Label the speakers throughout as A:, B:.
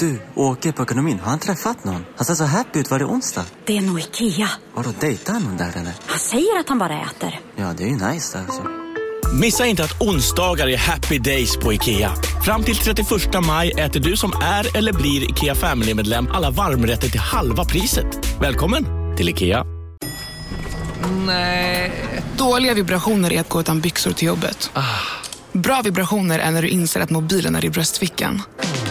A: Du, åker på ekonomin. Har han träffat någon? Han ser så happy ut. Var det onsdag?
B: Det är nog Ikea.
A: Har du dejtat någon där eller?
B: Han säger att han bara äter.
A: Ja, det är ju nice alltså.
C: Missa inte att onsdagar är happy days på IKEA. Fram till 31 maj äter du som är eller blir IKEA Family-medlem alla varmrätter till halva priset. Välkommen till IKEA.
D: Nej. Dåliga vibrationer är att gå utan byxor till jobbet. Bra vibrationer är när du inser att mobilen är i bröstfickan.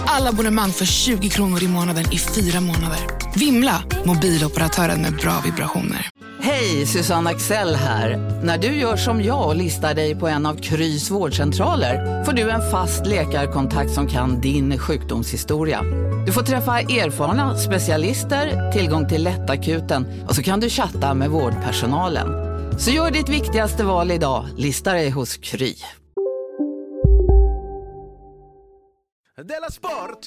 D: Alla abonnemang för 20 kronor i månaden i fyra månader. Vimla! Mobiloperatören med bra vibrationer.
E: Hej, Susanne Axel här. När du gör som jag och listar dig på en av Krys vårdcentraler får du en fast läkarkontakt som kan din sjukdomshistoria. Du får träffa erfarna specialister, tillgång till lättakuten och så kan du chatta med vårdpersonalen. Så gör ditt viktigaste val idag, listar dig hos Kry.
F: Della Sport!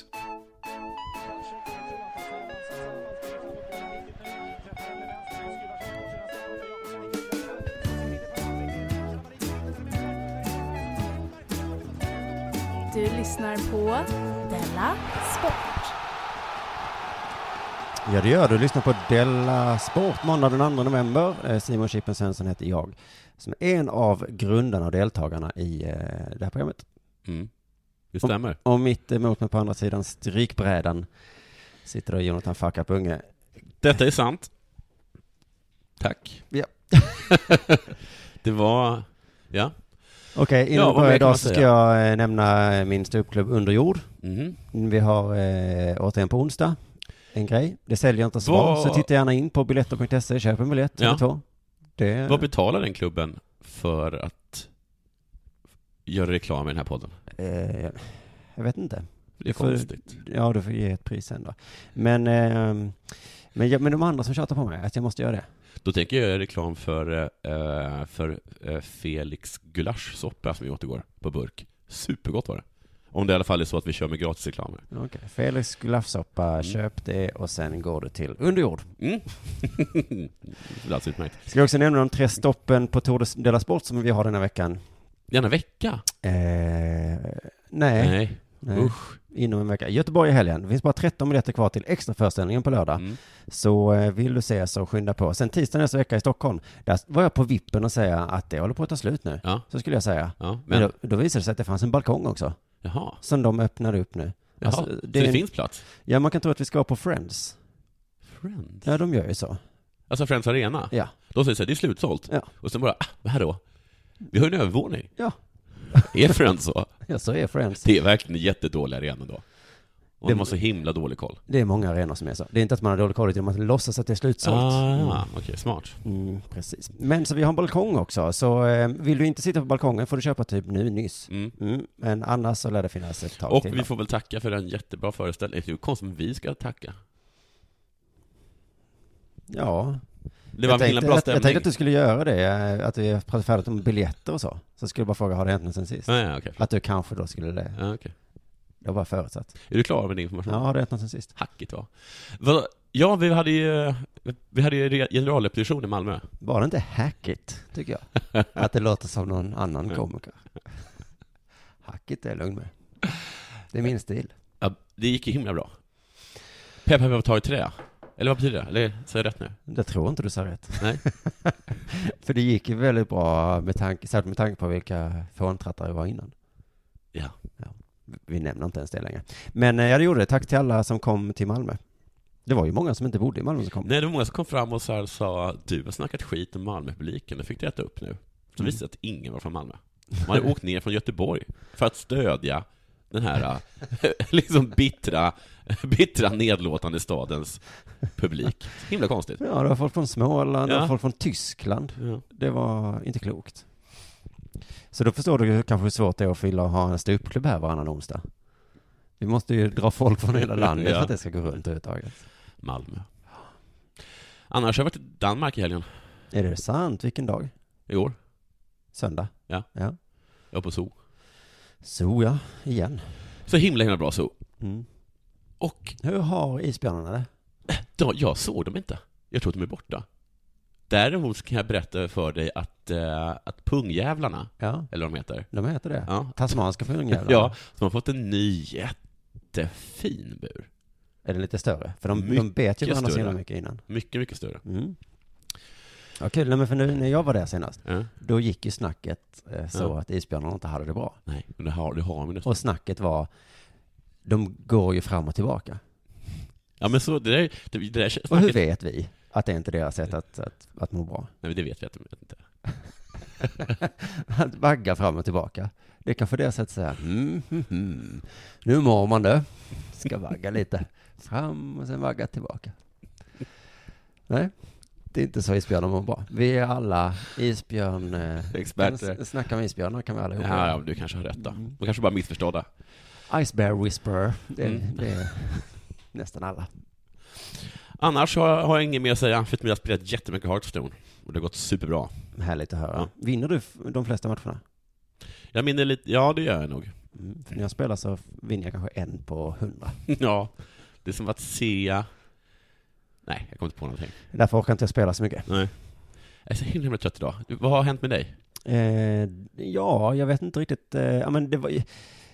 G: Du lyssnar på Della Sport.
H: Ja det gör du. Lyssna på Della Sport måndag den 2 november. Eh, Simon Chippen Svensson heter jag. Som är en av grundarna och deltagarna i eh, det här programmet.
I: Mm. Det stämmer.
H: Och mitt emot mig på andra sidan strykbrädan sitter då Jonathan Fuckup Unge.
I: Detta är sant. Tack.
H: Ja.
I: det var... Ja.
H: Okej, innan
I: Ja,
H: vi
I: vad
H: börjar
I: mer kan man
H: idag så ska
I: säga?
H: jag eh, nämna eh, min ståuppklubb Under jord.
I: Mhm.
H: Vi har eh, återigen på onsdag en grej. Det säljer inte så bra,
I: Vad-
H: så titta gärna in på biljetter.se, E, köp en biljett eller
I: Ja.
H: två. Det...
I: Vad betalar den klubben för att göra reklam i den här podden?
H: Eh, jag vet inte.
I: Det är
H: För-
I: konstigt.
H: Ja, du får ge ett pris sen då. Men, eh, men, jag, men de andra som tjatar på mig, att jag måste göra det.
I: Då tänker jag göra reklam för, eh, för eh, Felix gulaschsoppa som vi åt igår på burk. Supergott var det. Om det i alla fall är så att vi kör med gratisreklamer.
H: Okej. Felix gulaschsoppa, köp det och sen går du till underjord.
I: Mm. det blir alltså utmärkt.
H: Ska jag också nämna de tre stoppen på Tour de- de la Sport som vi har denna veckan?
I: Denna vecka?
H: Eh, nej,
I: Nej.
H: nej.
I: Usch.
H: inom en vecka. Göteborg i helgen. Det finns bara 13 biljetter kvar till extra föreställningen på lördag.
I: Mm.
H: Så eh, vill du se så skynda på. Sen tisdag nästa vecka i Stockholm, där var jag på vippen och säga att det håller på att ta slut nu.
I: Ja.
H: Så skulle jag säga.
I: Ja,
H: Men
I: men
H: då, då visade det sig att det fanns en balkong också,
I: jaha.
H: som de öppnade upp nu.
I: jaha.
H: Alltså,
I: så
H: det
I: det
H: är en-
I: finns plats?
H: Ja, man kan tro att vi ska vara på Friends.
I: Friends?
H: Ja, de gör ju så.
I: Alltså Friends Arena?
H: Ja.
I: De säger så här, det är slutsålt.
H: Ja.
I: Och sen bara, ah, vad här då? Vi har ju en övervåning.
H: Ja.
I: Är Friends så?
H: Ja, så är Friends.
I: Det är verkligen en jättedålig arena då. Och
H: Det-
I: de har så himla dålig koll.
H: Det är många arenor som är så. Det är inte att man har dålig koll, utan man låtsas att det är slutsålt.
I: Ah, okej, smart.
H: Mm, precis. Men så vi har en balkong också, så eh, vill du inte sitta på balkongen får du köpa typ nu nyss.
I: Mm.
H: Mm, men annars så lär det finnas ett tag
I: Och
H: till.
I: vi får väl tacka för en jättebra föreställning. Det är ju konstigt om vi ska tacka.
H: Ja.
I: Det var en himla bra
H: jag, jag
I: stämning.
H: tänkte att du skulle göra det, eh, att vi har pratat färdigt om biljetter och så. Så skulle jag bara fråga, har det hänt något sen sist?
I: Ah, ja, okej.
H: Att du kanske då skulle det.
I: Ja, okej.
H: Jag bara förutsatt.
I: Är du klar med
H: Ja,
I: din information?
H: har det hänt något sen sist?
I: Hackigt va? Vadå? Ja, vi hade ju, vi hade ju re- generalrepetition i Malmö.
H: Var det inte hackigt, tycker jag? Att det låter som någon annan komiker. Hackigt är jag lugn med. Det är min stil.
I: Ja, det gick ju himla bra. Pepp, pepp, pepp, ta i trä. Eller vad betyder det? Eller säger jag rätt nu?
H: Det tror inte du sa rätt.
I: Nej.
H: För det gick ju väldigt bra, med tanke, särskilt med tanke på vilka fåntrattar det var innan.
I: Ja.
H: Vi nämner inte ens det längre. Men eh, ja, det gjorde det. Tack till alla som kom till Malmö. Det var ju många som inte bodde i Malmö som kom.
I: Nej, det var många som kom fram och så här sa du har snackat skit om Malmöpubliken, det fick du äta upp nu. Så visade det sig att ingen var från Malmö. Man hade åkt ner från Göteborg för att stödja den här eh, liksom bittra, bittra nedlåtande stadens publik. Himla konstigt.
H: Ja, det var folk från Småland, det var
I: Ja.
H: folk från Tyskland.
I: Ja.
H: Det var inte klokt. Så då förstår du ju kanske hur svårt det är att fylla och ha en ståuppklubb här varannan onsdag. Vi måste ju dra folk från hela landet för
I: Ja.
H: att det ska gå runt överhuvudtaget.
I: Malmö. Annars har jag varit i Danmark i helgen,
H: Är det sant? Vilken dag?
I: igår.
H: Söndag?
I: Ja.
H: ja.
I: Jag var på zoo.
H: Så ja, igen.
I: Så himla, himla bra zoo.
H: Mm.
I: Och
H: Hur har isbjörnarna det?
I: då, jag såg dem inte. Jag tror att de är borta. Däremot kan jag berätta för dig att, eh, att pungjävlarna,
H: Ja,
I: eller vad de heter,
H: de heter det.
I: ja,
H: Tasmanska pungjävlar.
I: Ja, de har fått en ny jätte jättefin bur.
H: Är den lite större? För de, de
I: Mycket
H: bet ju varandra så himla
I: större.
H: mycket innan.
I: Mycket, mycket större.
H: Mm. Ja, kul. Nej, men för nu när jag var där senast,
I: Ja.
H: då gick ju snacket eh, så
I: Ja.
H: att isbjörnarna inte hade det bra.
I: Nej, men det har, det har man nästan.
H: Och snacket var, de går ju fram och tillbaka.
I: Ja men så, det där, det, det där
H: Och hur
I: snacket,
H: vet vi att det är inte deras sätt att, att, att må bra?
I: nej men det vet vi att de vet inte.
H: Att vagga fram och tillbaka. Det är kanske deras sätt att säga, mm, mm, mm. nu mår man det. Ska vagga lite fram och sen vagga tillbaka. Nej, det är inte så isbjörnar mår bra. Vi är alla isbjörn... eh,
I: Experter.
H: s- Snacka med isbjörnar kan vi allihopa.
I: Ja, ja, men du kanske har rätt då.
H: Mm.
I: De kanske bara missförstådda.
H: Ice bear whisperer, det,
I: Mm.
H: det är nästan alla.
I: Annars har jag, har jag inget mer att säga, förutom att jag har spelat jättemycket Hearthstone. Och det har gått superbra.
H: Härligt att höra.
I: Ja.
H: Vinner du f- de flesta matcherna?
I: Jag minner lite, ja det gör jag nog.
H: Mm. För när jag spelar så vinner jag kanske en på hundra.
I: Ja, det är som att se... Nej, jag kommer inte på någonting.
H: Därför orkar inte jag spela så mycket.
I: Nej. Jag är så himla, himla trött idag. Vad har hänt med dig?
H: Eh, ja, jag vet inte riktigt. Eh, ja, men det var, ju-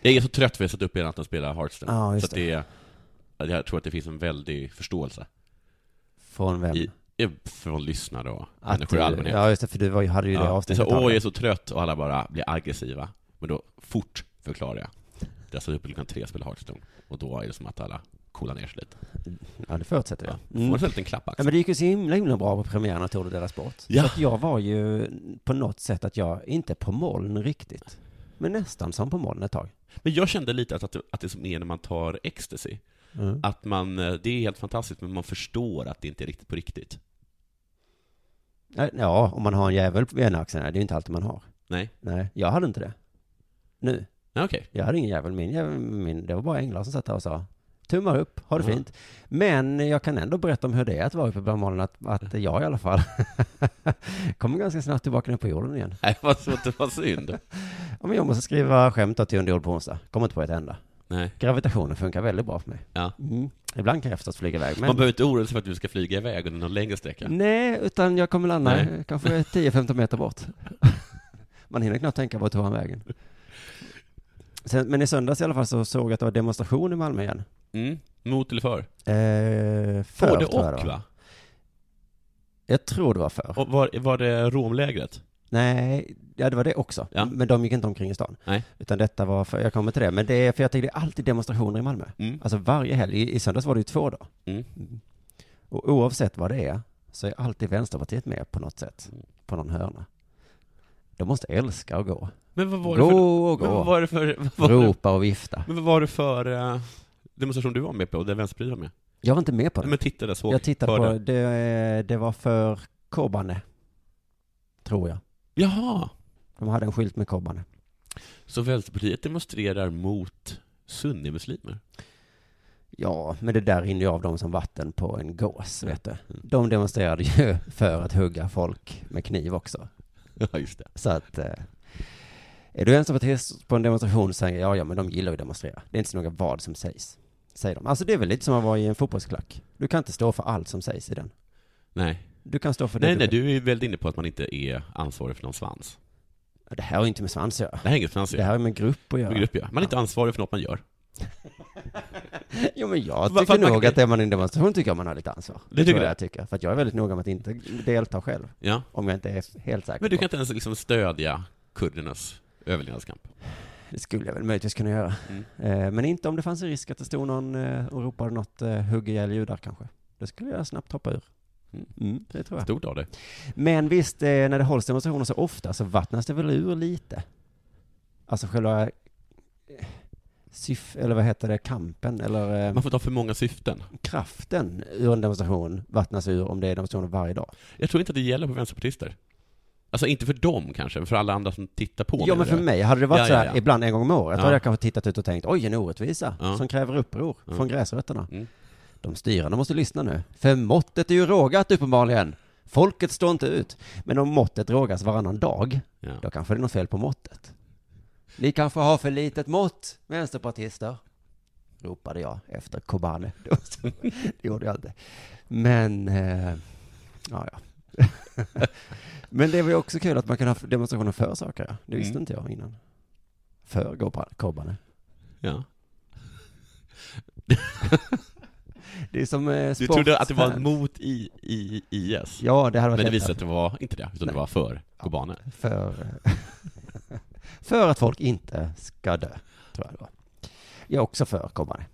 I: Jag är så trött för jag har satt upp hela natten och spelat Hearthstone.
H: Ja, just
I: så att det är, att jag tror att det finns en väldig förståelse
H: Från vem?
I: i, i, från lyssnare och
H: Att
I: människor i
H: du-
I: allmänhet.
H: Ja, just det, för du var, ju- hade ju det
I: Ja, det är
H: avsnittet.
I: så, åh,
H: av
I: jag
H: det.
I: är så trött och alla bara blir aggressiva. Men då fort förklarar jag. Jag satt uppe typ klockan tre och spelade Hearthstone. Och då är det som att alla coolar ner sig lite.
H: ja, det förutsätter
I: Ja.
H: jag.
I: Får man en sån liten klapp
H: Ja,
I: axeln.
H: men det gick ju så himla, himla bra på premiären av Tour de Deras Sport.
I: Ja.
H: Så att jag var ju på något sätt att jag, inte på moln riktigt, men nästan som på moln ett tag.
I: Men jag kände lite att, att, det- att det är som är när man tar ecstasy.
H: Mm.
I: Att man, eh, det är helt fantastiskt, men man förstår att det inte är riktigt på riktigt.
H: Ja, om man har en djävul på ena axeln, det är ju inte alltid man har.
I: Nej,
H: Nej, jag hade inte det. Nu.
I: nej okej.
H: Jag hade ingen djävul, min, djävul, min det var bara änglar som satt där och sa tummar upp, ha det
I: Ja.
H: fint. Men jag kan ändå berätta om hur det är att vara uppe bland molnen, att, att jag i alla fall kommer ganska snabbt tillbaka ner på jorden igen.
I: Nej, vad, så- det var synd.
H: Ja, men jag måste skriva skämt då till underjord på onsdag, kommer inte på ett enda.
I: Nej.
H: Gravitationen funkar väldigt bra för mig.
I: Ja.
H: Mm. Ibland kan kräftor flyga iväg,
I: Man
H: men
I: behöver inte oroa sig för att du ska flyga iväg under någon längre sträcka.
H: nej, utan jag kommer landa
I: Nej.
H: kanske 10-15 meter bort. Man hinner knappt tänka på att ta han vägen. Sen, men i söndags i alla fall så såg jag att det var demonstration i Malmö igen.
I: Mm. Mot eller för?
H: Eh, för,
I: Både
H: tror jag det
I: och
H: var.
I: va?
H: Jag tror det var för.
I: Och var, var det Romlägret?
H: Nej, ja det var det också.
I: Ja.
H: Men de gick inte omkring i stan.
I: Nej.
H: Utan detta var för, jag kommer till det, men det är, för jag tänker det är alltid demonstrationer i Malmö.
I: Mm.
H: Alltså varje helg, i, i söndags var det ju två då.
I: Mm.
H: Och oavsett vad det är, så är alltid Vänsterpartiet med på något sätt,
I: Mm.
H: på någon hörna. De måste älska att gå.
I: Men vad var det för...
H: Gå och
I: Men vad
H: gå,
I: var det för... Vad var det,
H: ropa och vifta.
I: men vad var det för eh, demonstration du var med på, där Vänsterpartiet var med?
H: Jag var inte med på
I: Nej,
H: det.
I: men tittade, såg,
H: Jag tittade på,
I: hörde.
H: det, det var för Kobane, tror jag.
I: Jaha!
H: De hade en skylt med Kobane.
I: Så Vänsterpartiet demonstrerar mot sunnimuslimer?
H: Ja, men det där rinner ju av dem som vatten på en gås,
I: Mm.
H: vet du. De demonstrerade ju för att hugga folk med kniv också.
I: Ja, just det.
H: Så att... Eh, är du vänsterpartist på en demonstration och säger ja, ja, men de gillar ju att demonstrera. Det är inte så noga vad som sägs, säger de. Alltså det är väl lite som att vara i en fotbollsklack. Du kan inte stå för allt som sägs i den.
I: Nej.
H: Du kan stå för det
I: nej, nej, du är väldigt inne på att man inte är ansvarig för någon svans.
H: Det här har ju inte med svans att göra.
I: Det här är inget svans
H: Det här är med grupp att göra.
I: ja. grupp, ja. Man är inte ansvarig för något man gör.
H: Jo, men jag
I: Va- för
H: tycker
I: att man-
H: nog att är man i en demonstration tycker jag man har lite ansvar.
I: Det tycker
H: tror
I: du?
H: jag tycker. För att jag är väldigt noga med att inte delta själv.
I: Ja.
H: Om jag inte är helt säker
I: Men du
H: på.
I: kan inte ens liksom stödja kurdernas överlevnadskamp?
H: Det skulle jag väl möjligtvis kunna göra.
I: Mm.
H: Eh, Men inte om det fanns en risk att det stod någon eh, och ropade något eh, hugg ihjäl judar kanske. Då skulle jag snabbt hoppa ur.
I: Mm.
H: Mm, det tror jag.
I: Stor dag det.
H: Men visst, eh, när det hålls demonstrationer så ofta så vattnas det väl ur lite. Alltså själva eh, syf, eller vad heter det, kampen eller eh,
I: Man får ta för många syften.
H: kraften ur en demonstration vattnas ur om det är demonstrationer varje dag.
I: Jag tror inte att det gäller på vänsterpartister. Alltså inte för dem kanske, men för alla andra som tittar på.
H: ja
I: menar
H: men för
I: jag.
H: mig, hade det varit
I: Ja,
H: så här
I: ja, ja.
H: ibland en gång om året,
I: Ja.
H: hade jag kanske tittat ut och tänkt oj en orättvisa
I: Ja.
H: som kräver uppror
I: Ja.
H: från gräsrötterna.
I: Mm.
H: De styrande måste lyssna nu, för måttet är ju rågat uppenbarligen. Folket står inte ut. Men om måttet rågas varannan dag,
I: Ja.
H: då kanske det är något fel på måttet. Ni kanske har för litet mått, vänsterpartister, ropade jag efter Kobane. Det var så- Det gjorde jag inte. Men, eh, ja, ja. Men det var ju också kul att man kan ha demonstrationer för saker. ja. Det visste
I: Mm.
H: inte jag innan. För Koba- Kobane.
I: ja.
H: Det är som eh,
I: Du trodde att det var
H: sportfans.
I: mot I, I, IS?
H: Ja, det hade varit
I: Men det
H: lättare.
I: visade sig att det var inte det, utan det
H: Nej.
I: var för kubaner.
H: För, eh, för att folk inte ska dö, tror jag det var. Jag är också för kommande.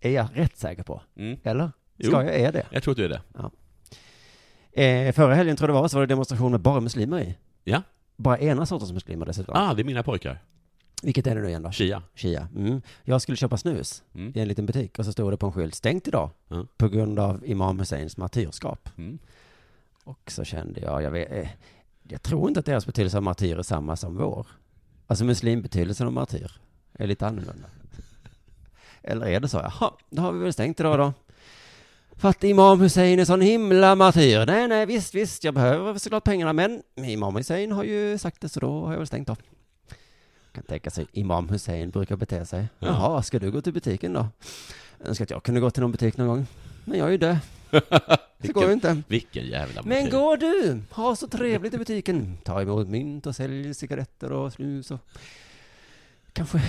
H: Är jag rätt säker på?
I: Mm.
H: Eller?
I: Jo.
H: Ska jag, är jag det?
I: Jag tror att du är det.
H: Eh, förra helgen tror jag det var, så var det demonstration med bara muslimer i.
I: Ja.
H: Bara ena sortens muslimer dessutom.
I: Ah, det är mina pojkar.
H: Vilket är det nu igen då?
I: Shia.
H: Shia. Mm. Jag skulle köpa snus
I: Mm.
H: i en liten butik och så stod det på en skylt, stängt idag,
I: Ja.
H: på grund av Imam Husseins martyrskap.
I: Mm.
H: Och så kände jag, jag, vet, eh, jag tror inte att deras betydelse av martyr är samma som vår. Alltså muslimbetydelsen av martyr är lite annorlunda. Eller är det så? Jaha, då har vi väl stängt idag då. För att Imam Hussein är sån himla martyr. Nej, nej, visst, visst, jag behöver såklart pengarna, men Imam Hussein har ju sagt det, så då har jag väl stängt då. Kan tänka sig, Imam Hussein brukar bete sig. Jaha, ska du gå till butiken då? Önskar att jag kunde gå till någon butik någon gång. Men jag är ju död. Så går
I: Vilken-
H: ju inte.
I: Vilken jävla
H: Men
I: motiv.
H: går du, ha så trevligt i butiken. Ta emot mynt och sälj cigaretter och snus och kanske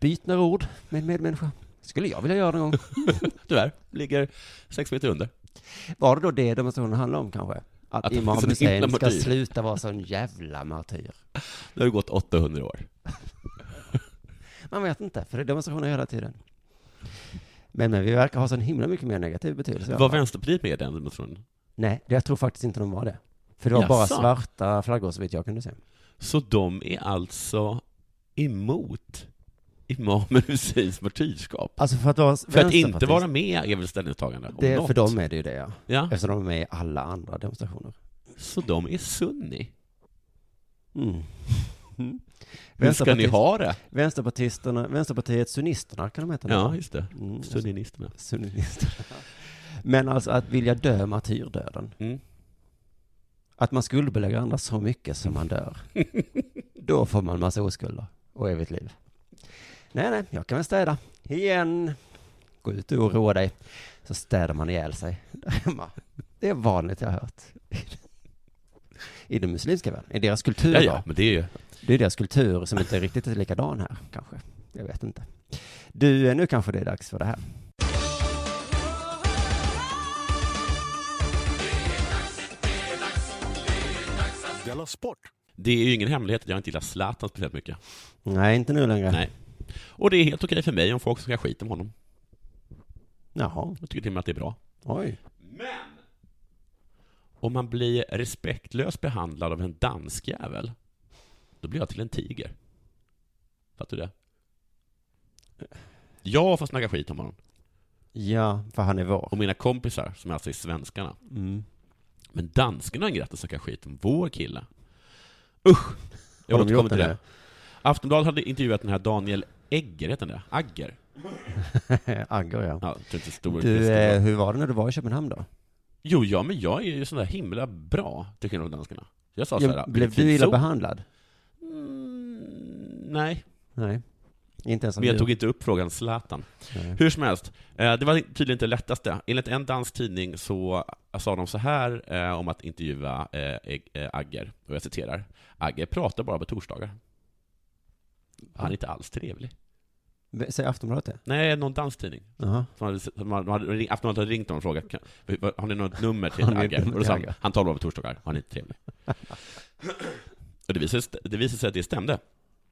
H: byt några ord med en medmänniska. Skulle jag vilja göra någon gång.
I: Tyvärr, ligger sex meter under.
H: Var det då det demonstrationen handlade om kanske? Att,
I: Att
H: Imam
I: han är sån himla
H: Hussein ska
I: martyr.
H: sluta vara sån jävla martyr.
I: Det har ju gått 800 år.
H: Man vet inte, för det är demonstrationer hela tiden. Men, men vi verkar ha sån himla mycket mer negativ betydelse. i alla
I: Var
H: fall.
I: Vänsterpartiet med i den demonstrationen?
H: Nej, jag tror faktiskt inte de var det. För det var bara
I: Jaså?
H: svarta flaggor så vitt jag kunde se.
I: Så de är alltså emot imamen Husseins martyrskap?
H: Alltså för att vara
I: För att inte vara med är väl ställningstagande? om
H: det,
I: något. Ah.
H: För dem är det ju det ja.
I: Ja,
H: Eftersom de är med i alla andra demonstrationer.
I: så de är sunni.
H: Mm.
I: Hur ska ni
H: Vänsterpartiet-
I: ha det?
H: Vänsterpartisterna, Vänsterpartiet Sunnisterna kan de heta nu.
I: Ja, just det.
H: Mm,
I: Sunninisterna.
H: Sunninisterna. Men alltså att vilja dö martyrdöden.
I: Mm.
H: Att man skuldbelägger andra så mycket som man dör. Då får man massa oskulder och evigt liv. Nej, nej, jag kan väl städa. Igen. Gå ut och oroa dig. Så städar man ihjäl sig där hemma. Det är vanligt jag har hört. I den muslimska världen. I deras kultur
I: Ja,
H: då.
I: ja, men det är ju...
H: Det är deras kultur som inte riktigt är likadan här, kanske. Jag vet inte. Du, nu kanske det är dags för det här.
F: Della Sport!
I: Det är ju ingen hemlighet att jag inte gillar Zlatan speciellt mycket.
H: Nej, inte nu längre.
I: Nej. Och det är helt okej för mig om folk ska skita om honom.
H: Jaha,
I: Jag tycker till och med att det är bra.
H: oj.
I: Om man blir respektlöst behandlad av en danskjävel, då blir jag till en tiger. Fattar du det? Jag får snacka skit om honom.
H: Ja, för han är vår.
I: Och mina kompisar, som alltså är svenskarna.
H: Mm.
I: Men danskarna har ingen rätt att snacka skit om vår kille. Usch! Jag
H: Har de gjort
I: återkommer till
H: det
I: det. Aftonbladet hade intervjuat den här Daniel Egger, heter han det? Agger?
H: Agger, ja.
I: Ja, jag tror inte stor
H: Du, eh, hur var det när du var i Köpenhamn då?
I: Jo, ja, men jag är ju sån där himla bra, till skillnad från danskarna. Jag sa såhär,
H: blev du illa behandlad?
I: Mm, nej,
H: Nej. Inte ens som
I: men jag
H: du.
I: tog inte upp frågan Zlatan.
H: Nej.
I: Hur som helst, eh, det var tydligen inte det lättaste. Enligt en dansk tidning så eh, sa de så här eh, om att intervjua eh, Eg- eh, Agger, och jag citerar. Agger pratar bara på torsdagar. Han är inte alls trevlig.
H: Säg Aftonbladet det?
I: Nej, någon dansk tidning.
H: Jaha.
I: Som hade, som hade, de hade, Aftonbladet hade ringt honom och frågat "Kan- Har ni något nummer till
H: Har ni ett
I: Agger?
H: nummer
I: Och då sa
H: till
I: han,
H: Agger?
I: han talar bara på torsdagar, han är inte trevlig. och det visade, sig- det visade sig att det stämde.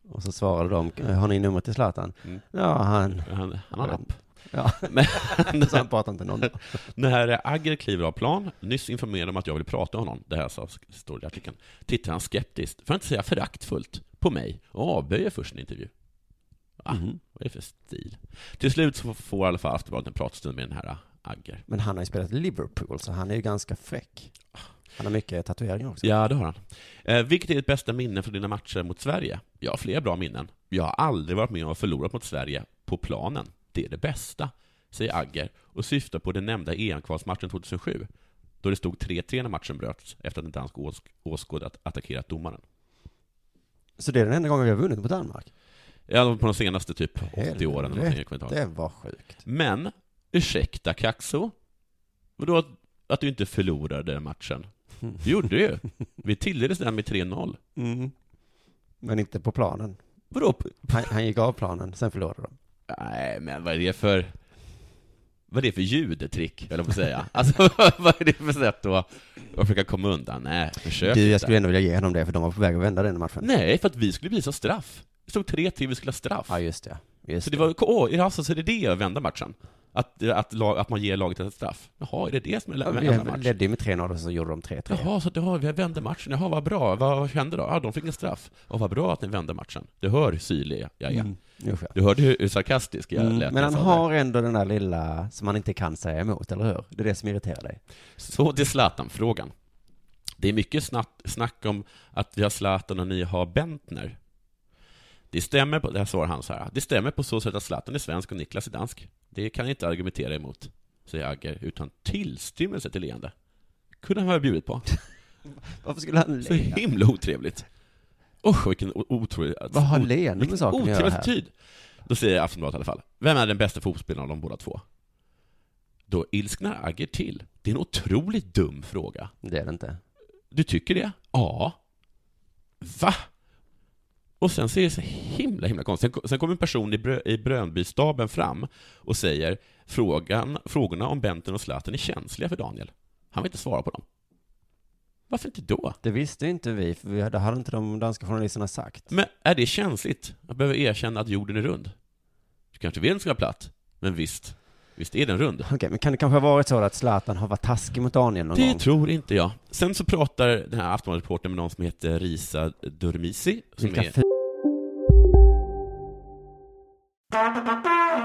H: Och så svarade de, har ni nummer till Zlatan?
I: Mm.
H: Ja, han...
I: Han, han har en app.
H: Ja.
I: Men-
H: så han pratar inte någon.
I: När Agger kliver av plan, nyss informerad om att jag vill prata med honom, det här sa- står i artikeln, tittar han skeptiskt, för att inte säga föraktfullt, på mig och avböjer först en intervju. Va? Vad är det för stil? Till slut så får i alla fall Aftonbladet en pratstund med den här Agger.
H: Men han har ju spelat i Liverpool, så han är ju ganska fräck. Han har mycket tatueringar också.
I: Ja, det har han. Eh, vilket är ditt bästa minne från dina matcher mot Sverige? Jag har flera bra minnen. Jag har aldrig varit med om att förlora mot Sverige på planen. Det är det bästa, säger Agger och syftar på den nämnda EM-kvalsmatchen 2007, då det stod 3-3 när matchen bröts efter att en dansk åsk- åskådare att- attackerat domaren.
H: Så det är den enda gången vi har vunnit mot Danmark?
I: Ja, på de senaste typ 80 åren eller någonting, jag kommer inte ihåg.
H: Det var sjukt.
I: Men, ursäkta Kaxo, vadå att, att du inte förlorade den matchen? Det gjorde du ju. Vi tilldelades den med 3-0. Mm.
H: Men inte på planen.
I: Vadå?
H: Han, han gick av planen, sen förlorade de.
I: Nej, men vad är det för... vad är det för ljudtrick, eller vad säga? Alltså, vad är det för sätt att att försöka komma undan? Nej, försök
H: Du, jag
I: inte.
H: skulle ändå vilja ge dem det, för de var på väg att vända den matchen.
I: Nej, för att vi skulle visa straff. Det stod 3-3, vi skulle ha straff.
H: Ja, just det. Just
I: så det var, åh, är det alltså, så är det det att vända matchen? Att, att, lag- att man ger laget ett straff? Jaha, är det det som är att vända
H: Vi
I: matchen?
H: ledde ju med 3-0 och så gjorde de 3-3.
I: Jaha, så att, jaha, vi vände matchen. Jaha, vad bra. Vad hände då? Ja, de fick en straff. Och vad bra att ni vände matchen. Du hör hur syrlig jag är.
H: Mm. Usch, ja.
I: Du hörde hur, hur sarkastisk jag
H: Mm,
I: lät.
H: Men
I: när jag
H: han
I: sa det.
H: har ändå den där lilla som man inte kan säga emot, eller hur? Det är det som irriterar dig.
I: Så till Zlatan-frågan. Det är mycket snack, snack om att vi har Zlatan och ni har Bentner. Det stämmer på, det här svarar han så här. Det stämmer på så sätt att Zlatan är svensk och Niklas är dansk. Det kan jag inte argumentera emot, säger Agger utan tillstymmelse till leende. Kunde han ha bjudit på.
H: Varför skulle han
I: Så
H: le?
I: himla otrevligt. Usch, vilken o- otrolig...
H: Vad har
I: o-
H: leende med saken att
I: otrevlig
H: göra här?
I: attityd. Då säger Aftonbladet i alla fall. Vem är den bästa fotbollsspelaren av de båda två? Då ilsknar Agger till. Det är en otroligt dum fråga.
H: Det är det inte.
I: Du tycker det? Ja. Va? Och sen så är det så himla, himla konstigt. Sen, sen kommer en person i, Brö, i Brönbystaben fram och säger Frågan, frågorna om Benten och Zlatan är känsliga för Daniel. Han vill inte svara på dem. Varför inte då?
H: Det visste ju inte vi, för vi hade, det hade inte de danska journalisterna sagt.
I: Men är det känsligt? Att behöva erkänna att jorden är rund? Du kanske vill att den ska vara platt, men visst, visst är den rund?
H: Okej, men kan det kanske ha varit så att Zlatan har varit taskig mot Daniel någon
I: Det
H: gång?
I: tror inte jag. Sen så pratar den här Aftonbladet-reportern med någon som heter Risa Durmisi, som
H: Vilka
I: är
H: f-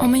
B: Om en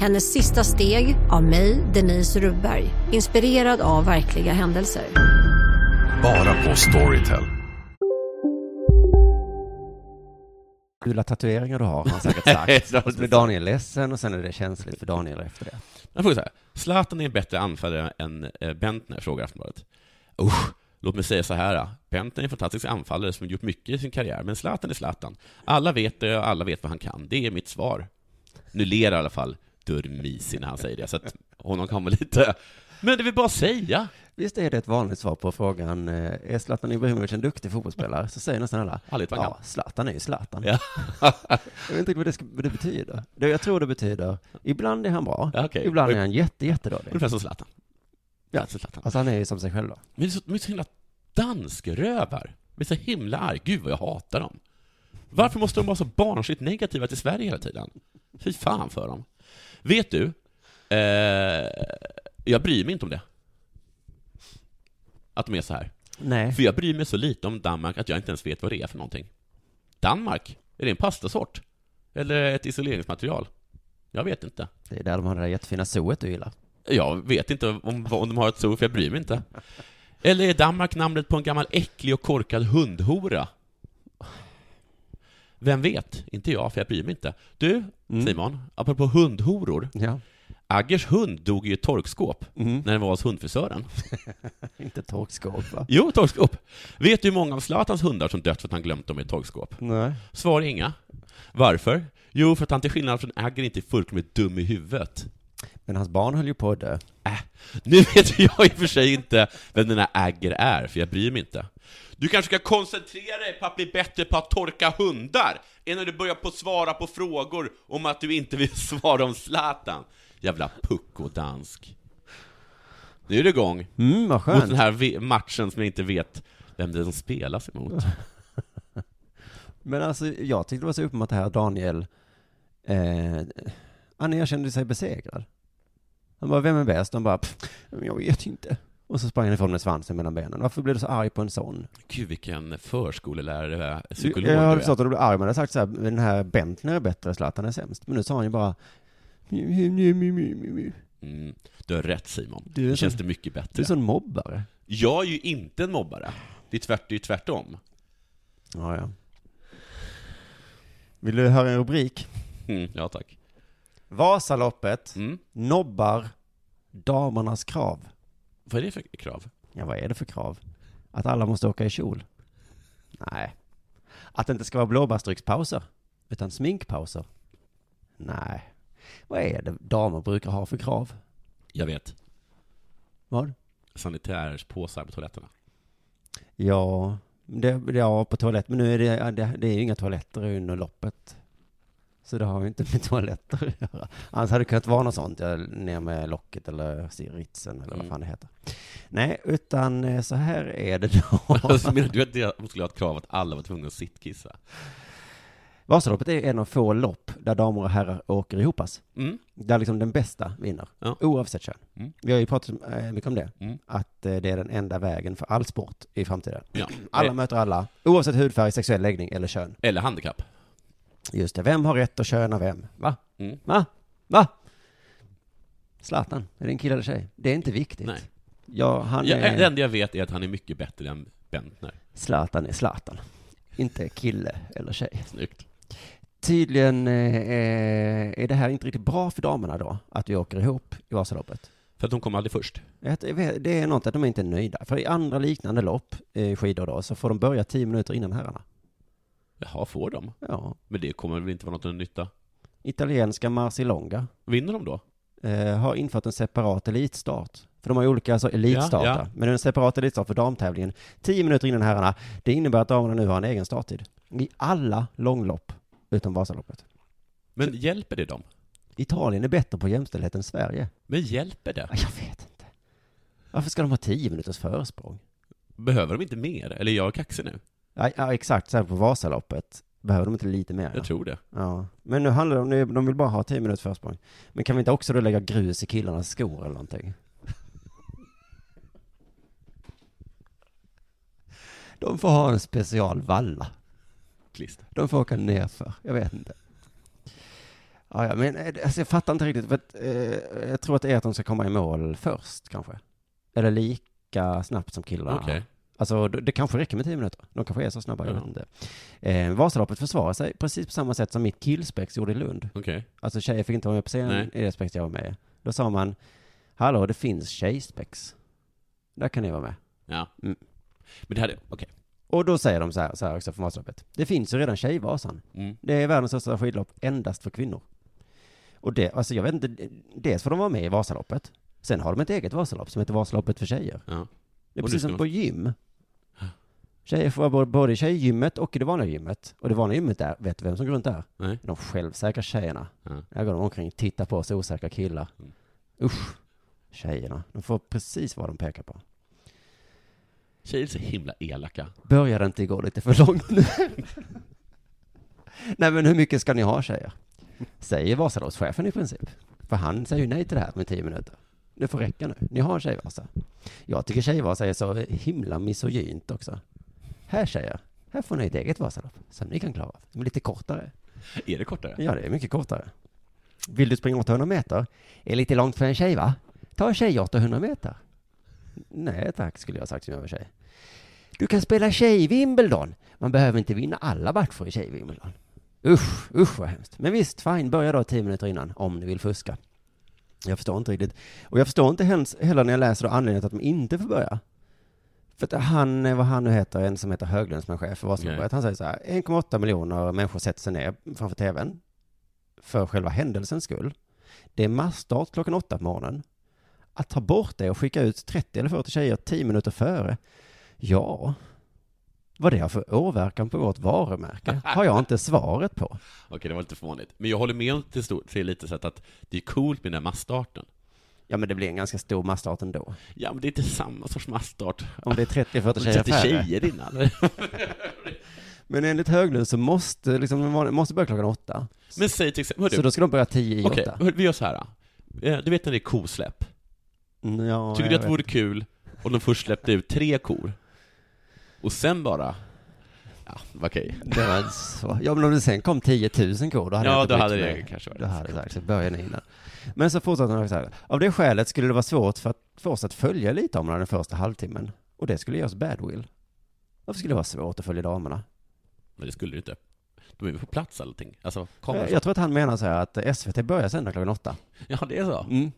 J: Hennes sista steg av mig, Denise Rubberg. Inspirerad av verkliga händelser.
F: Bara på Storytel.
H: fula tatueringar du har, har han säkert sagt. och så blir Daniel ledsen och sen är det känsligt för Daniel efter det.
I: Jag frågar så här. Zlatan är en bättre anfallare än eh, Bentner, frågar Aftonbladet. Usch, låt mig säga så här. ah. Bentner är en fantastisk anfallare som gjort mycket i sin karriär, men Zlatan är Zlatan. Alla vet det och alla vet vad han kan. Det är mitt svar. Nu ler i alla fall Durmisi när han säger det, så att honom kan väl lite... Men det vill bara säga.
H: Visst är det ett vanligt svar på frågan, eh, är Zlatan Ibrahimovic en duktig fotbollsspelare? Så säger nästan alla,
I: Härligt, man kan.
H: ja, Zlatan är ju Zlatan.
I: Ja.
H: Jag vet inte vad det, ska, vad det betyder. Det, jag tror det betyder, ibland är han bra,
I: Ja, okej.
H: ibland
I: Och-
H: är han jätte, jättedålig.
I: Ungefär som Zlatan.
H: Ja.
I: Alltså Zlatan.
H: Alltså han är ju som sig själv då.
I: Men det är så, de är så himla danskrövar. De är så himla arg. Gud vad jag hatar dem. Varför måste de vara så barnsligt negativa till Sverige hela tiden? Fy fan för dem. Vet du? Eh, jag bryr mig inte om det. Att de är så här.
H: Nej.
I: För jag bryr mig så lite om Danmark att jag inte ens vet vad det är för någonting. Danmark? Är det en pastasort? Eller ett isoleringsmaterial? Jag vet inte.
H: Det är där de har det där jättefina zooet du gillar.
I: Jag vet inte om, om de har ett zoo, för jag bryr mig inte. Eller är Danmark namnet på en gammal äcklig och korkad hundhora? Vem vet? Inte jag, för jag bryr mig inte. Du, Simon, apropå hundhoror.
H: Ja.
I: Aggers hund dog i ett torkskåp när den var hos hundfrisören.
H: Inte torkskåp va?
I: Jo, torkskåp! Vet du hur många av Zlatans hundar som dött för att han glömt dem i ett torkskåp?
H: Nej.
I: Svar inga. Varför? Jo, för att han till skillnad från Agger inte är fullkomligt dum i huvudet.
H: Men hans barn höll ju på att dö.
I: Äh. Nu vet jag i och för sig inte vem den här Agger är, för jag bryr mig inte. Du kanske ska koncentrera dig på att bli bättre på att torka hundar, innan du börjar på att svara på frågor om att du inte vill svara om Zlatan. Jävla puckodansk. Nu är det igång,
H: Mm, vad
I: mot den
H: skönt.
I: här ve- matchen som jag inte vet vem det är som spelas emot.
H: Men alltså, jag tyckte det var så uppenbart det här Daniel, eh, han erkände sig besegrad. Han bara, vem är bäst? De bara, "Pff, men jag vet inte. Och så sprang han ifrån med svansen mellan benen. Varför blev du så arg på en sån?
I: Gud vilken förskolelärare, eh, psykolog
H: jag
I: du
H: hade
I: är.
H: förstått att du blev arg, men jag hade sagt så här, den här Bentner är bättre, Zlatan är sämst. Men nu sa han ju bara,
I: Mm. Du har rätt Simon.
H: Du är
I: Nu känns
H: sån-
I: det mycket bättre.
H: Du är sån mobbare.
I: Jag är ju inte en mobbare. Det är, tvärt, det är tvärtom.
H: Ja, ja. Vill du höra en rubrik?
I: Mm. Ja, tack.
H: Vasaloppet
I: Mm.
H: nobbar damernas krav.
I: Vad är det för krav?
H: Ja, vad är det för krav? Att alla måste åka i kjol? Nej. Att det inte ska vara blåbärsdryckspauser, utan sminkpauser? Nej. Vad är det damer brukar ha för krav?
I: Jag vet.
H: Vad?
I: Sanitärspåsar på toaletterna.
H: Ja, det, det- ja på toalett. Men nu är det, ja, det, det är ju inga toaletter under loppet. Så det har ju inte med toaletter att göra. Annars hade det kunnat vara något sånt, ja, ner med locket eller ritsen eller vad
I: Mm.
H: fan det heter. Nej, utan eh, så här är det
I: Alltså,
H: då.
I: menar du att det skulle ha ett krav att alla var tvungna att sittkissa?
H: Vasaloppet är en av få lopp där damer och herrar åker ihopas.
I: Mm.
H: Där liksom den bästa vinner, oavsett kön.
I: Mm.
H: Vi har ju pratat eh, mycket om det, att eh, det är den enda vägen för all sport i framtiden.
I: Ja.
H: Alla
I: Eh.
H: möter alla, oavsett hudfärg, sexuell läggning eller kön.
I: Eller handikapp?
H: Just det, vem har rätt att köna vem? Va?
I: Mm.
H: Va? Va? Zlatan, är det en kille eller tjej? Det är inte viktigt.
I: Nej.
H: Ja, han
I: Ja, eh,
H: är...
I: Det enda jag vet är att han är mycket bättre än Bentner.
H: Zlatan är Zlatan. Inte kille eller tjej.
I: Snyggt.
H: Tydligen eh, är det här inte riktigt bra för damerna då, att vi åker ihop i Vasaloppet.
I: För att de kom aldrig först.
H: Att Det är något att de inte är nöjda. För i andra liknande lopp, eh, skidor då, så får de börja tio minuter innan herrarna.
I: Jaha, får de?
H: Ja.
I: Men det kommer väl inte vara något att nytta?
H: Italienska Marsilonga
I: Vinner de då?
H: eh, har infört en separat elitstart. För de har ju olika alltså, elitstarter.
I: Ja, ja.
H: Men en separat elitstart för damtävlingen. Tio minuter innan herrarna. Det innebär att damerna nu har en egen starttid. I alla långlopp, utom Vasaloppet.
I: Men hjälper det dem?
H: Italien är bättre på jämställdhet än Sverige.
I: Men hjälper det?
H: Jag vet inte. Varför ska de ha tio minuters försprång?
I: Behöver de inte mer? Eller är jag kaxig nu?
H: Ja, ja exakt, så här på Vasaloppet. Behöver de inte lite mer?
I: Jag tror det.
H: Ja, men nu handlar det om, nu- de vill bara ha 10 minuters försprång. Men kan vi inte också då lägga grus i killarnas skor eller någonting? De får ha en special valla.
I: Klister.
H: De får åka nerför, jag vet inte. Ja, ja, men eh, alltså, jag fattar inte riktigt. För att, eh, jag tror att det är att de ska komma i mål först kanske. Eller lika snabbt som killarna.
I: Okej.
H: Alltså det, det kanske räcker med 10 minuter. De kanske är så snabba, jag
I: Ja.
H: vet inte. Eh, Vasaloppet försvarar sig precis på samma sätt som mitt killspex gjorde i Lund.
I: Okej.
H: Alltså tjejer fick inte vara med på
I: Nej.
H: scenen i det spex jag var med i. Då sa man, hallå det finns tjejspex. Där kan ni vara med.
I: Ja.
H: Mm.
I: Men det hade, okej.
H: Och då säger de så här, så här också från Vasaloppet. Det finns ju redan Tjejvasan.
I: Mm.
H: Det är världens största skidlopp endast för kvinnor. Och det, alltså jag vet inte, dels får de vara med i Vasaloppet. Sen har de ett eget Vasalopp som heter Vasaloppet för tjejer.
I: Ja.
H: Det är
I: Och nu
H: precis
I: ska
H: som
I: man-
H: på gym. Tjejer får vara både- både i tjejgymmet och i det vanliga gymmet. Och det vanliga gymmet där, vet du vem som går runt där?
I: Nej.
H: De självsäkra tjejerna.
I: Ja. Mm.
H: Där går de omkring och tittar på oss osäkra killar. Usch. Tjejerna. De får precis vad de pekar på.
I: Tjejer är så himla elaka.
H: Började inte gå lite för långt nu? nej men hur mycket ska ni ha tjejer? Säger Vasaloppschefen i princip. För han säger ju nej till det här med tio minuter. Det får räcka nu. Ni har en tjejvasa. Jag tycker tjejvasa är så himla misogynt också. Här tjejer, här får ni ett eget Vasalopp som ni kan klara av. Men lite kortare.
I: Är det kortare?
H: Ja, det är mycket kortare. Vill du springa 800 meter? Är lite långt för en tjej, va? Ta en tjej 800 meter. Nej tack, skulle jag ha sagt som jag var tjej. Du kan spela tjej-Wimbledon. Man behöver inte vinna alla matcher i tjej-Wimbledon. Usch, usch vad hemskt. Men visst, fine, börja då 10 minuter innan om ni vill fuska. Jag förstår inte riktigt. Och jag förstår inte hens- heller när jag läser då anledningen till att de inte får börja. För att han, eh, vad han nu heter, en som heter Höglund som är chef för
I: Nej.
H: Vasaloppet, han säger så här, 1,8 miljoner människor sätter sig ner framför tvn för själva händelsens skull. Det är massstart klockan åtta på morgonen. Att ta bort det och skicka ut 30 eller 40 tjejer 10 minuter före, ja, vad det har för åverkan på vårt varumärke har jag inte svaret på.
I: Okej, det var lite fånigt. Men jag håller med om till, stor, till lite sätt att det är coolt med den här massstarten.
H: Ja, men det blir en ganska stor massstart ändå.
I: Ja, men det är inte samma sorts masstart.
H: Om det är 30-40 tjejer
I: 30
H: färre.
I: tjejer innan. eller?
H: Men enligt Höglund så måste, liksom, de vanliga- måste börja klockan åtta.
I: men säg till exempel... hör du.
H: Så då ska de börja tio i
I: Okej,
H: åtta.
I: hör- vi gör så här. då. Eh, Du vet när det är kosläpp?
H: Mm, Ja,
I: Tycker
H: jag
I: du att det
H: vet.
I: vore kul om de först släppte ut tre kor? Och sen bara... Okej.
H: Det var inte så. Ja, men om det sen kom 10 000 kor, då hade
I: Ja,
H: jag inte
I: då
H: brytt
I: hade det
H: mig.
I: kanske varit
H: Då hade det varit så början innan. Men så fortsatte han så här. Av det skälet skulle det vara svårt för, att, för oss att följa elitdamerna den första halvtimmen. Och det skulle ge oss badwill. Varför skulle det vara svårt att följa damerna?
I: Men det skulle du inte. De är väl på plats allting? Alltså, kommer
H: Jag, jag tror att han menar så här att SVT börjar sända klockan åtta.
I: Ja, det är så?
H: Mm.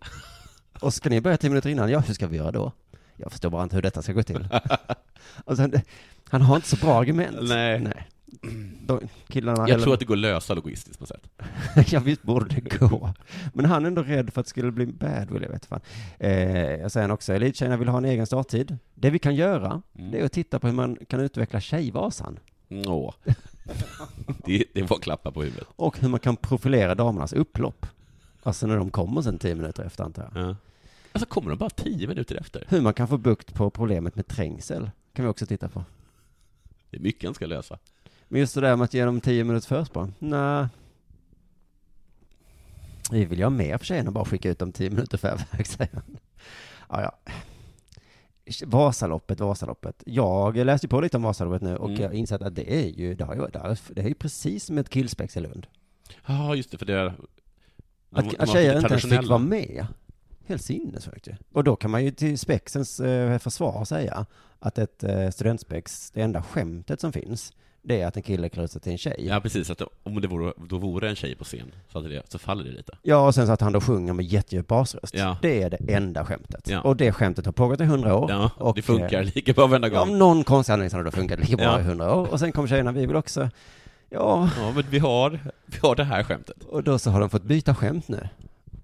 H: Och ska ni börja tio minuter innan? Ja, hur ska vi göra då? Jag förstår bara inte hur detta ska gå till. och sen, han har inte så bra argument.
I: Nej.
H: De, killarna,
I: Jag
H: eller-
I: tror att det går att lösa logistiskt på något sätt.
H: ja, visst borde det gå. Men han är ändå rädd för att det skulle bli badwill, jag vet fan. Eh, och sen också, elittjejerna vill ha en egen starttid. Det vi kan göra,
I: Mm.
H: det är att titta på hur man kan utveckla tjejvasan.
I: Nå. Det, det var klappar på huvudet.
H: Och hur man kan profilera damernas upplopp. Alltså när de kommer sen tio minuter efter, antar jag.
I: Alltså kommer de bara tio minuter efter?
H: Hur man kan få bukt på problemet med trängsel, kan vi också titta på.
I: Det är mycket han ska lösa.
H: Men just det där med att ge dem tio minuters försprång, nej. Vi vill ju ha mer för sig än att bara skicka ut dem tio minuter förväg, säger han. Ja, ja. Vasaloppet, Vasaloppet. Jag läste ju på lite om Vasaloppet nu och
I: Mm.
H: jag insett att det är ju, det, har ju, det har- det är ju precis som ett killspex i Lund.
I: Ja, just det, för det... Att,
H: Att, att tjejer inte ens fick vara med. Helt sinnessjukt ju. Och då kan man ju till spexens eh, försvar säga att ett eh, studentspex, det enda skämtet som finns, det är att en kille klär ut sig till en tjej.
I: Ja, precis. Att om det vore, då vore en tjej på scen, så, hade det, så faller det lite.
H: Ja, och sen så att han då sjunger med jättedjup basröst.
I: Ja.
H: Det är det enda skämtet.
I: Ja.
H: Och det skämtet har pågått i hundra år.
I: Ja,
H: och,
I: det funkar
H: eh,
I: lika bra varenda gång.
H: Ja, om någon konstig anledning så har det då funkat lika bra
I: Ja.
H: i hundra år. Och sen kom tjejerna, vi vill också... Ja.
I: Ja, men vi har, vi har det här skämtet.
H: Och då så har de fått byta skämt nu.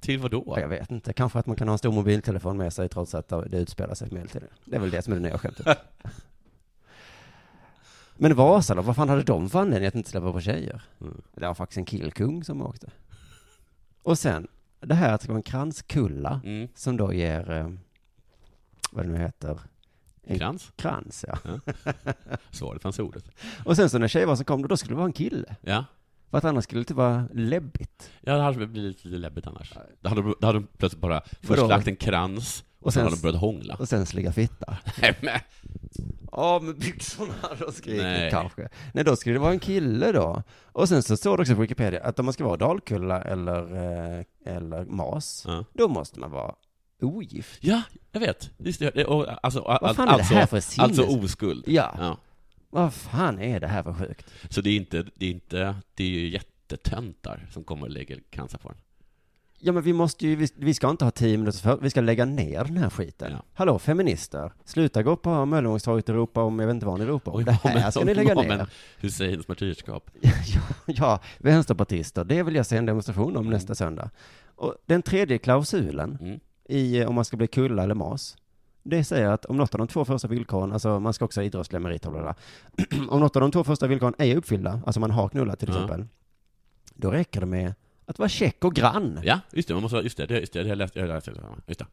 I: Till vad då?
H: Ja, jag vet inte. Kanske att man kan ha en stor mobiltelefon med sig trots att det utspelar sig på medeltiden. Det är väl det som är det nya skämtet. Men Vasa då? Vad fan hade de för anledning att inte släppa på tjejer? Det var faktiskt en killkung som åkte. Och sen, det här ska vara en kranskulla som då ger, eh, vad det nu heter, en
I: Krans?
H: krans ja.
I: Svaret fanns i ordet.
H: Och sen så när tjejvasan kom då, då skulle det vara en kille.
I: Ja.
H: För att annars skulle det inte vara läbbigt.
I: Ja, det hade blivit lite läbbigt annars. Då hade, de- då hade de plötsligt bara först
H: Vadå?
I: lagt en krans, och, sen hade de börjat hångla.
H: Och sen sliga fitta.
I: Nej, men,
H: Av med byxorna då skriker
I: Nej.
H: kanske. Nej, då skulle det vara en kille då. Och sen så står det också på Wikipedia att om man ska vara Dalkulla eller, eh, eller Mas, då måste man vara ogift.
I: ja, jag vet. Just det, och, alltså,
H: Vad fan är det
I: alltså,
H: här för
I: alltså
H: sinnes-
I: oskuld.
H: Ja. Vad fan är det här för sjukt?
I: Så det är inte, det är inte, det är ju jättetöntar som kommer och lägger kransar på den.
H: Ja men vi måste ju, vi, vi ska inte ha tio minuter för, vi ska lägga ner den här skiten. Hallå feminister, sluta gå på Möllevångstorget och ropa om jag vet inte vad ni ropar om. Det här ska ni lägga ner.
I: Husseins martyrskap.
H: Ja, vänsterpartister, det vill jag se en demonstration
I: Mm.
H: om nästa söndag. Och den tredje klausulen i eh, om man ska bli kulla eller mas, det säger att om något av de två första villkoren, alltså man ska också ha idrottsliga meriter och bla bla, bla. om något av de två första villkoren är uppfyllda, alltså man har knullat till
I: Ja.
H: exempel, då räcker det med att vara käck och grann.
I: Ja, just det, man måste, ha- just det, det- just det, det har jag läst, jag har läst, det. just det.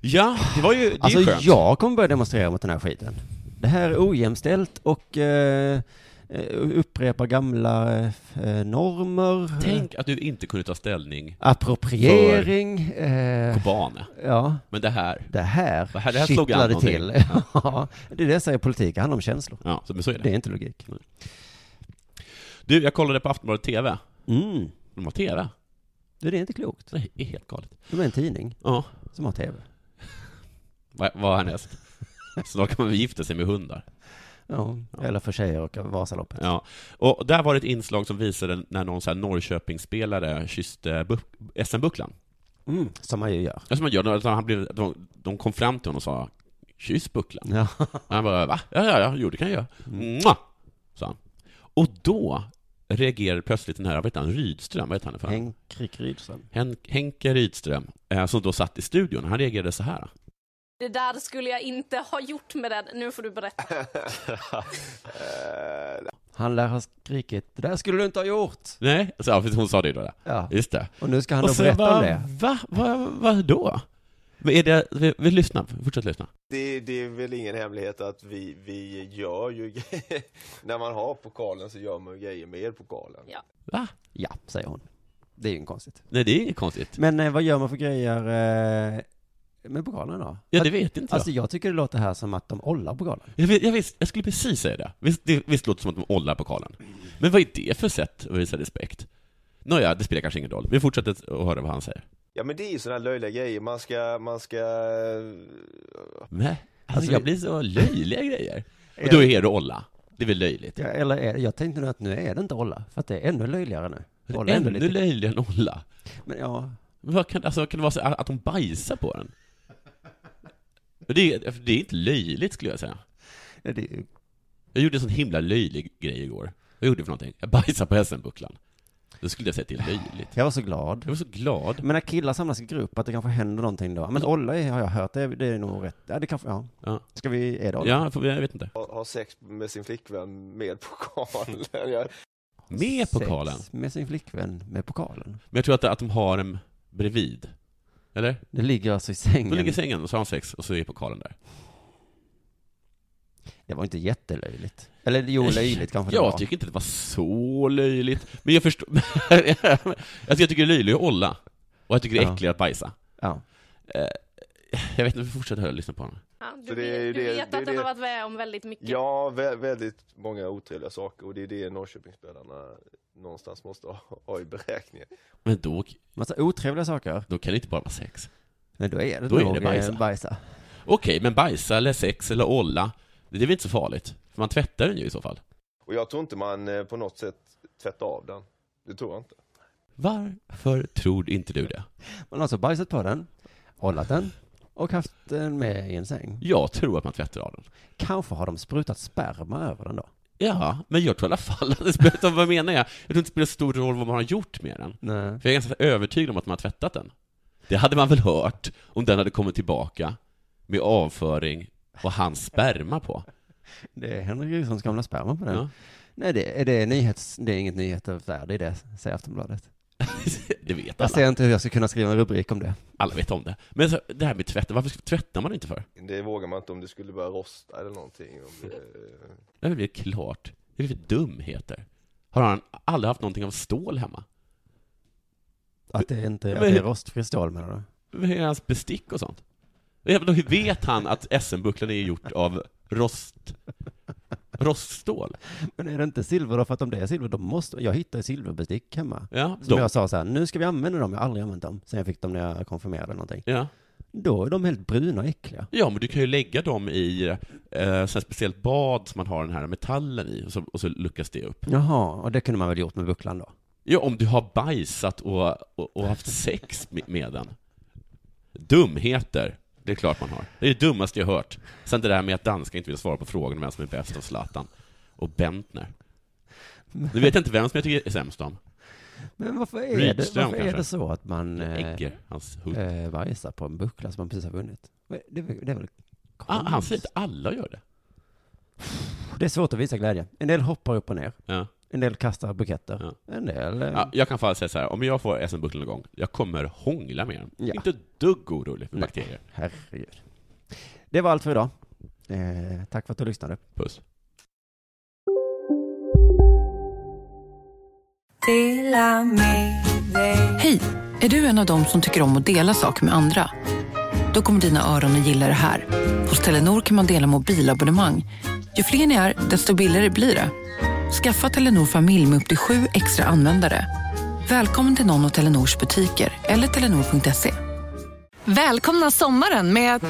I: Ja, det var ju, det är
H: Alltså
I: ju skönt.
H: jag kommer börja demonstrera mot den här skiten. Det här är ojämställt och eh, eh, upprepar gamla eh, normer.
I: Tänk att du inte kunde ta ställning
H: Appropriering. Eh,
I: för Kobane.
H: Ja.
I: Men det här.
H: Det här,
I: Det här- det här slog an
H: kittlade
I: någonting.
H: till.
I: Ja.
H: Ja. det är det jag säger, politik det handlar om känslor.
I: Ja, så, men så är det.
H: Det är inte logik.
I: Du, jag kollade på Aftonbladet TV.
H: Mm.
I: De har TV.
H: Det är inte klokt.
I: Det är helt galet.
H: De är en tidning
I: Ja.
H: som har tv.
I: Vad vad härnäst? Snart kan man väl gifta sig med hundar.
H: Ja. Eller för tjejer och Vasaloppet.
I: Ja. Och där var det ett inslag som visade när någon så här Norrköpingsspelare kysste bu- SM-bucklan.
H: Mm. Som man ju gör.
I: Ja, som man gör, utan han blev, de, de kom fram till honom och sa ”Kyss bucklan”.
H: Ja.
I: Och han bara ”Va? Ja, ja, ja, jo det kan jag göra”. Mua! sa han. Och då reagerade plötsligt den här, vad heter han, Rydström, vad heter han för?
H: Henrik Rydström.
I: Hen- Henke Rydström, eh, som då satt i studion, han reagerade så här.
K: Det där skulle jag inte ha gjort med den. Nu får du berätta.
H: Han lär ha skrikit, det där skulle du inte ha gjort.
I: Nej, så, ja, för hon sa det då. där.
H: Ja.
I: Just det.
H: Och nu ska han då
I: så
H: berätta
I: bara,
H: om det.
I: Va? Va? Vad då? Men är det, vi, vi lyssnar, fortsätt lyssna.
L: Det, det är väl ingen hemlighet att vi, vi gör ju grejer. När man har pokalen så gör man ju grejer med pokalen.
K: Ja.
I: Va?
H: Ja, säger hon. Det är ju inget konstigt.
I: Nej, det är inget konstigt.
H: Men eh, vad gör man för grejer eh, med pokalen då?
I: Ja, det vet inte jag.
H: Alltså jag tycker det låter här som att de ollar pokalen.
I: Jag, vet, jag, visst, jag skulle precis säga det. Visst, det. visst låter det som att de ollar pokalen? Men vad är det för sätt att visa respekt? Nåja, det spelar kanske ingen roll. Vi fortsätter att höra vad han säger.
L: Ja men det är ju sådana löjliga grejer, man ska, man ska... eh,
I: Nej, alltså,
L: Alltså,
I: jag
L: vi-
I: blir så löjliga grejer. Och då är det olla. Det är väl löjligt?
H: Ja, eller är, jag tänkte nog att nu är det inte olla, för att det är ännu löjligare nu.
I: Det
H: Olla
I: är
H: är ändå
I: ännu
H: lite-
I: löjligare än olla.
H: Men ja,
I: Men vad kan, alltså, kan det vara så att de bajsar på den? Det, är- det är inte löjligt skulle jag säga. Jag gjorde en sån himla löjlig grej igår. Vad gjorde jag för någonting? Jag bajsade på hälsenbucklan. Då skulle jag säga att det är löjligt.
H: jag var så glad. Jag
I: var så glad.
H: Men när killar samlas i grupp, att det kanske händer någonting då. Men olla är- har jag hört, det är, det är nog rätt. Ja, det kanske, ja.
I: Ja.
H: Ska vi, är det olla?
I: Ja, för, jag vet inte.
L: Ha, ha sex med sin flickvän med pokalen. Jag,
I: Med pokalen.
H: Sex med sin flickvän med pokalen.
I: Men jag tror att, att de har dem bredvid. Eller?
H: Det ligger alltså i sängen.
I: De ligger i sängen och så har de sex och så är pokalen där.
H: Det var inte jättelöjligt. Eller jo, löjligt kanske det
I: Jag
H: var.
I: tycker inte det var så löjligt. Men jag förstår... alltså jag tycker det är löjligt att olla. Och jag tycker det är
H: Ja.
I: äckligt att bajsa.
H: Ja.
I: Jag vet inte, vi fortsätter höra och lyssna på honom.
K: Ja, du,
L: Så det är ju
K: vet, du
L: det-
K: vet
L: det är
K: att den
L: det-
K: har varit med om väldigt mycket.
L: ja, vä- väldigt många otrevliga saker och det är det Norrköpingsspelarna någonstans måste ha, ha i beräkningen.
I: Men då...
H: Massa otrevliga saker.
I: Då kan det inte bara vara sex.
H: Nej, då är det
I: Då är
H: nog,
I: det
H: eh,
I: bajsa.
H: bajsa.
I: Okej, men bajsa eller sex eller olla, det är väl inte så farligt? För man tvättar den ju i så fall.
L: Och jag tror inte man eh, på något sätt tvättar av den. Det tror jag inte.
I: Varför tror inte du det?
H: Man har alltså bajsat på den, ollat den och haft den med i en säng.
I: Jag tror att man tvättar av den.
H: Kanske har de sprutat sperma över den då?
I: Ja, men jag tror i alla fall att det spelar, vad menar jag? Jag tror inte det spelar så stor roll vad man har gjort med den.
H: Nej.
I: För jag är ganska övertygad om att man har tvättat den. Det hade man väl hört om den hade kommit tillbaka med avföring och hans sperma på.
H: Det är Henrik Rydströms gamla sperma på den.
I: Ja.
H: Nej, det är, det, är nyhets, det är inget nyhetsvärde i det, säger Aftonbladet.
I: Det vet
H: Jag
I: alla.
H: ser inte hur jag ska kunna skriva en rubrik om det.
I: Alla vet om det. Men så, det här med tvätten, varför tvättar man inte för?
L: Det vågar man inte om det skulle börja rosta eller någonting. Om det,
I: Det är väl klart. Det är väl för dumheter. Har han aldrig haft någonting av stål hemma?
H: Att det inte
I: Men-
H: att det är rostfri stål menar du?
I: Vad är hans bestick och sånt? Även då, hur vet han att SM-bucklan är gjort av rost... roststål?
H: Men är det inte silver då? För att om det är silver, då måste... Jag hittade silverbestick hemma.
I: Ja,
H: Som
I: de-
H: jag sa så här, nu ska vi använda dem. Jag har aldrig använt dem sen jag fick dem när jag konfirmerade eller någonting.
I: Ja.
H: Då är de helt bruna och äckliga.
I: Ja, men du kan ju lägga dem i eh, sån här speciellt bad som man har den här metallen i, och så, och så luckas det upp.
H: Jaha, och det kunde man väl gjort med bucklan då?
I: Ja, om du har bajsat och, och, och haft sex med, med den. Dumheter, det är klart man har. Det är det dummaste jag hört. Sen det där med att danskar inte vill svara på frågan om vem som är bäst av Zlatan och Bentner. Nu vet jag inte vem som jag tycker är sämst om.
H: Men varför är, det,
I: Rydström
H: varför är
I: kanske?
H: det så att man eh,
I: Egger, hans hund.
H: eh, bajsar på en buckla som man precis har vunnit? Vad är- Det, är väl- det är väl
I: Ah, han säger att alla gör det.
H: Det är svårt att visa glädje. En del hoppar upp och ner.
I: Ja.
H: En del kastar buketter. En del... eh,
I: Ja, jag kan fan säga så här, om jag får SM-bucklan någon gång, jag kommer hångla med den.
H: Ja.
I: Inte ett dugg orolig för bakterier.
H: Herregud. Det var allt för idag. Eh, tack för att du lyssnade.
I: Puss.
B: Hej! Är du en av dem som tycker om att dela saker med andra? Då kommer dina öron att gilla det här. Hos Telenor kan man dela mobilabonnemang. Ju fler ni är, desto billigare blir det. Skaffa Telenor familj med upp till sju extra användare. Välkommen till någon av Telenors butiker eller telenor.se.
M: Välkomna sommaren med att...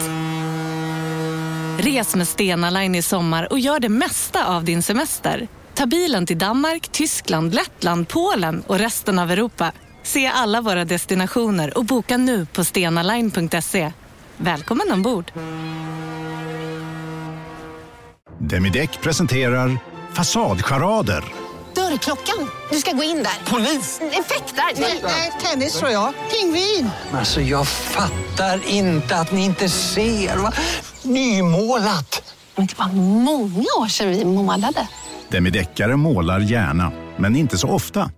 M: Res med Stena Line i sommar och gör det mesta av din semester. Ta bilen till Danmark, Tyskland, Lettland, Polen och resten av Europa. Se alla våra destinationer och boka nu på stenaline.se. Välkommen ombord!
N: Demideck presenterar Fasadcharader.
O: Dörrklockan. Du ska gå in där. Polis? Effektar? Nej, tennis tror jag. Pingvin.
P: Alltså jag fattar inte att ni inte ser. Va? Nymålat!
O: Men det var många år sedan vi målade.
N: Demideckare målar gärna, men inte så ofta.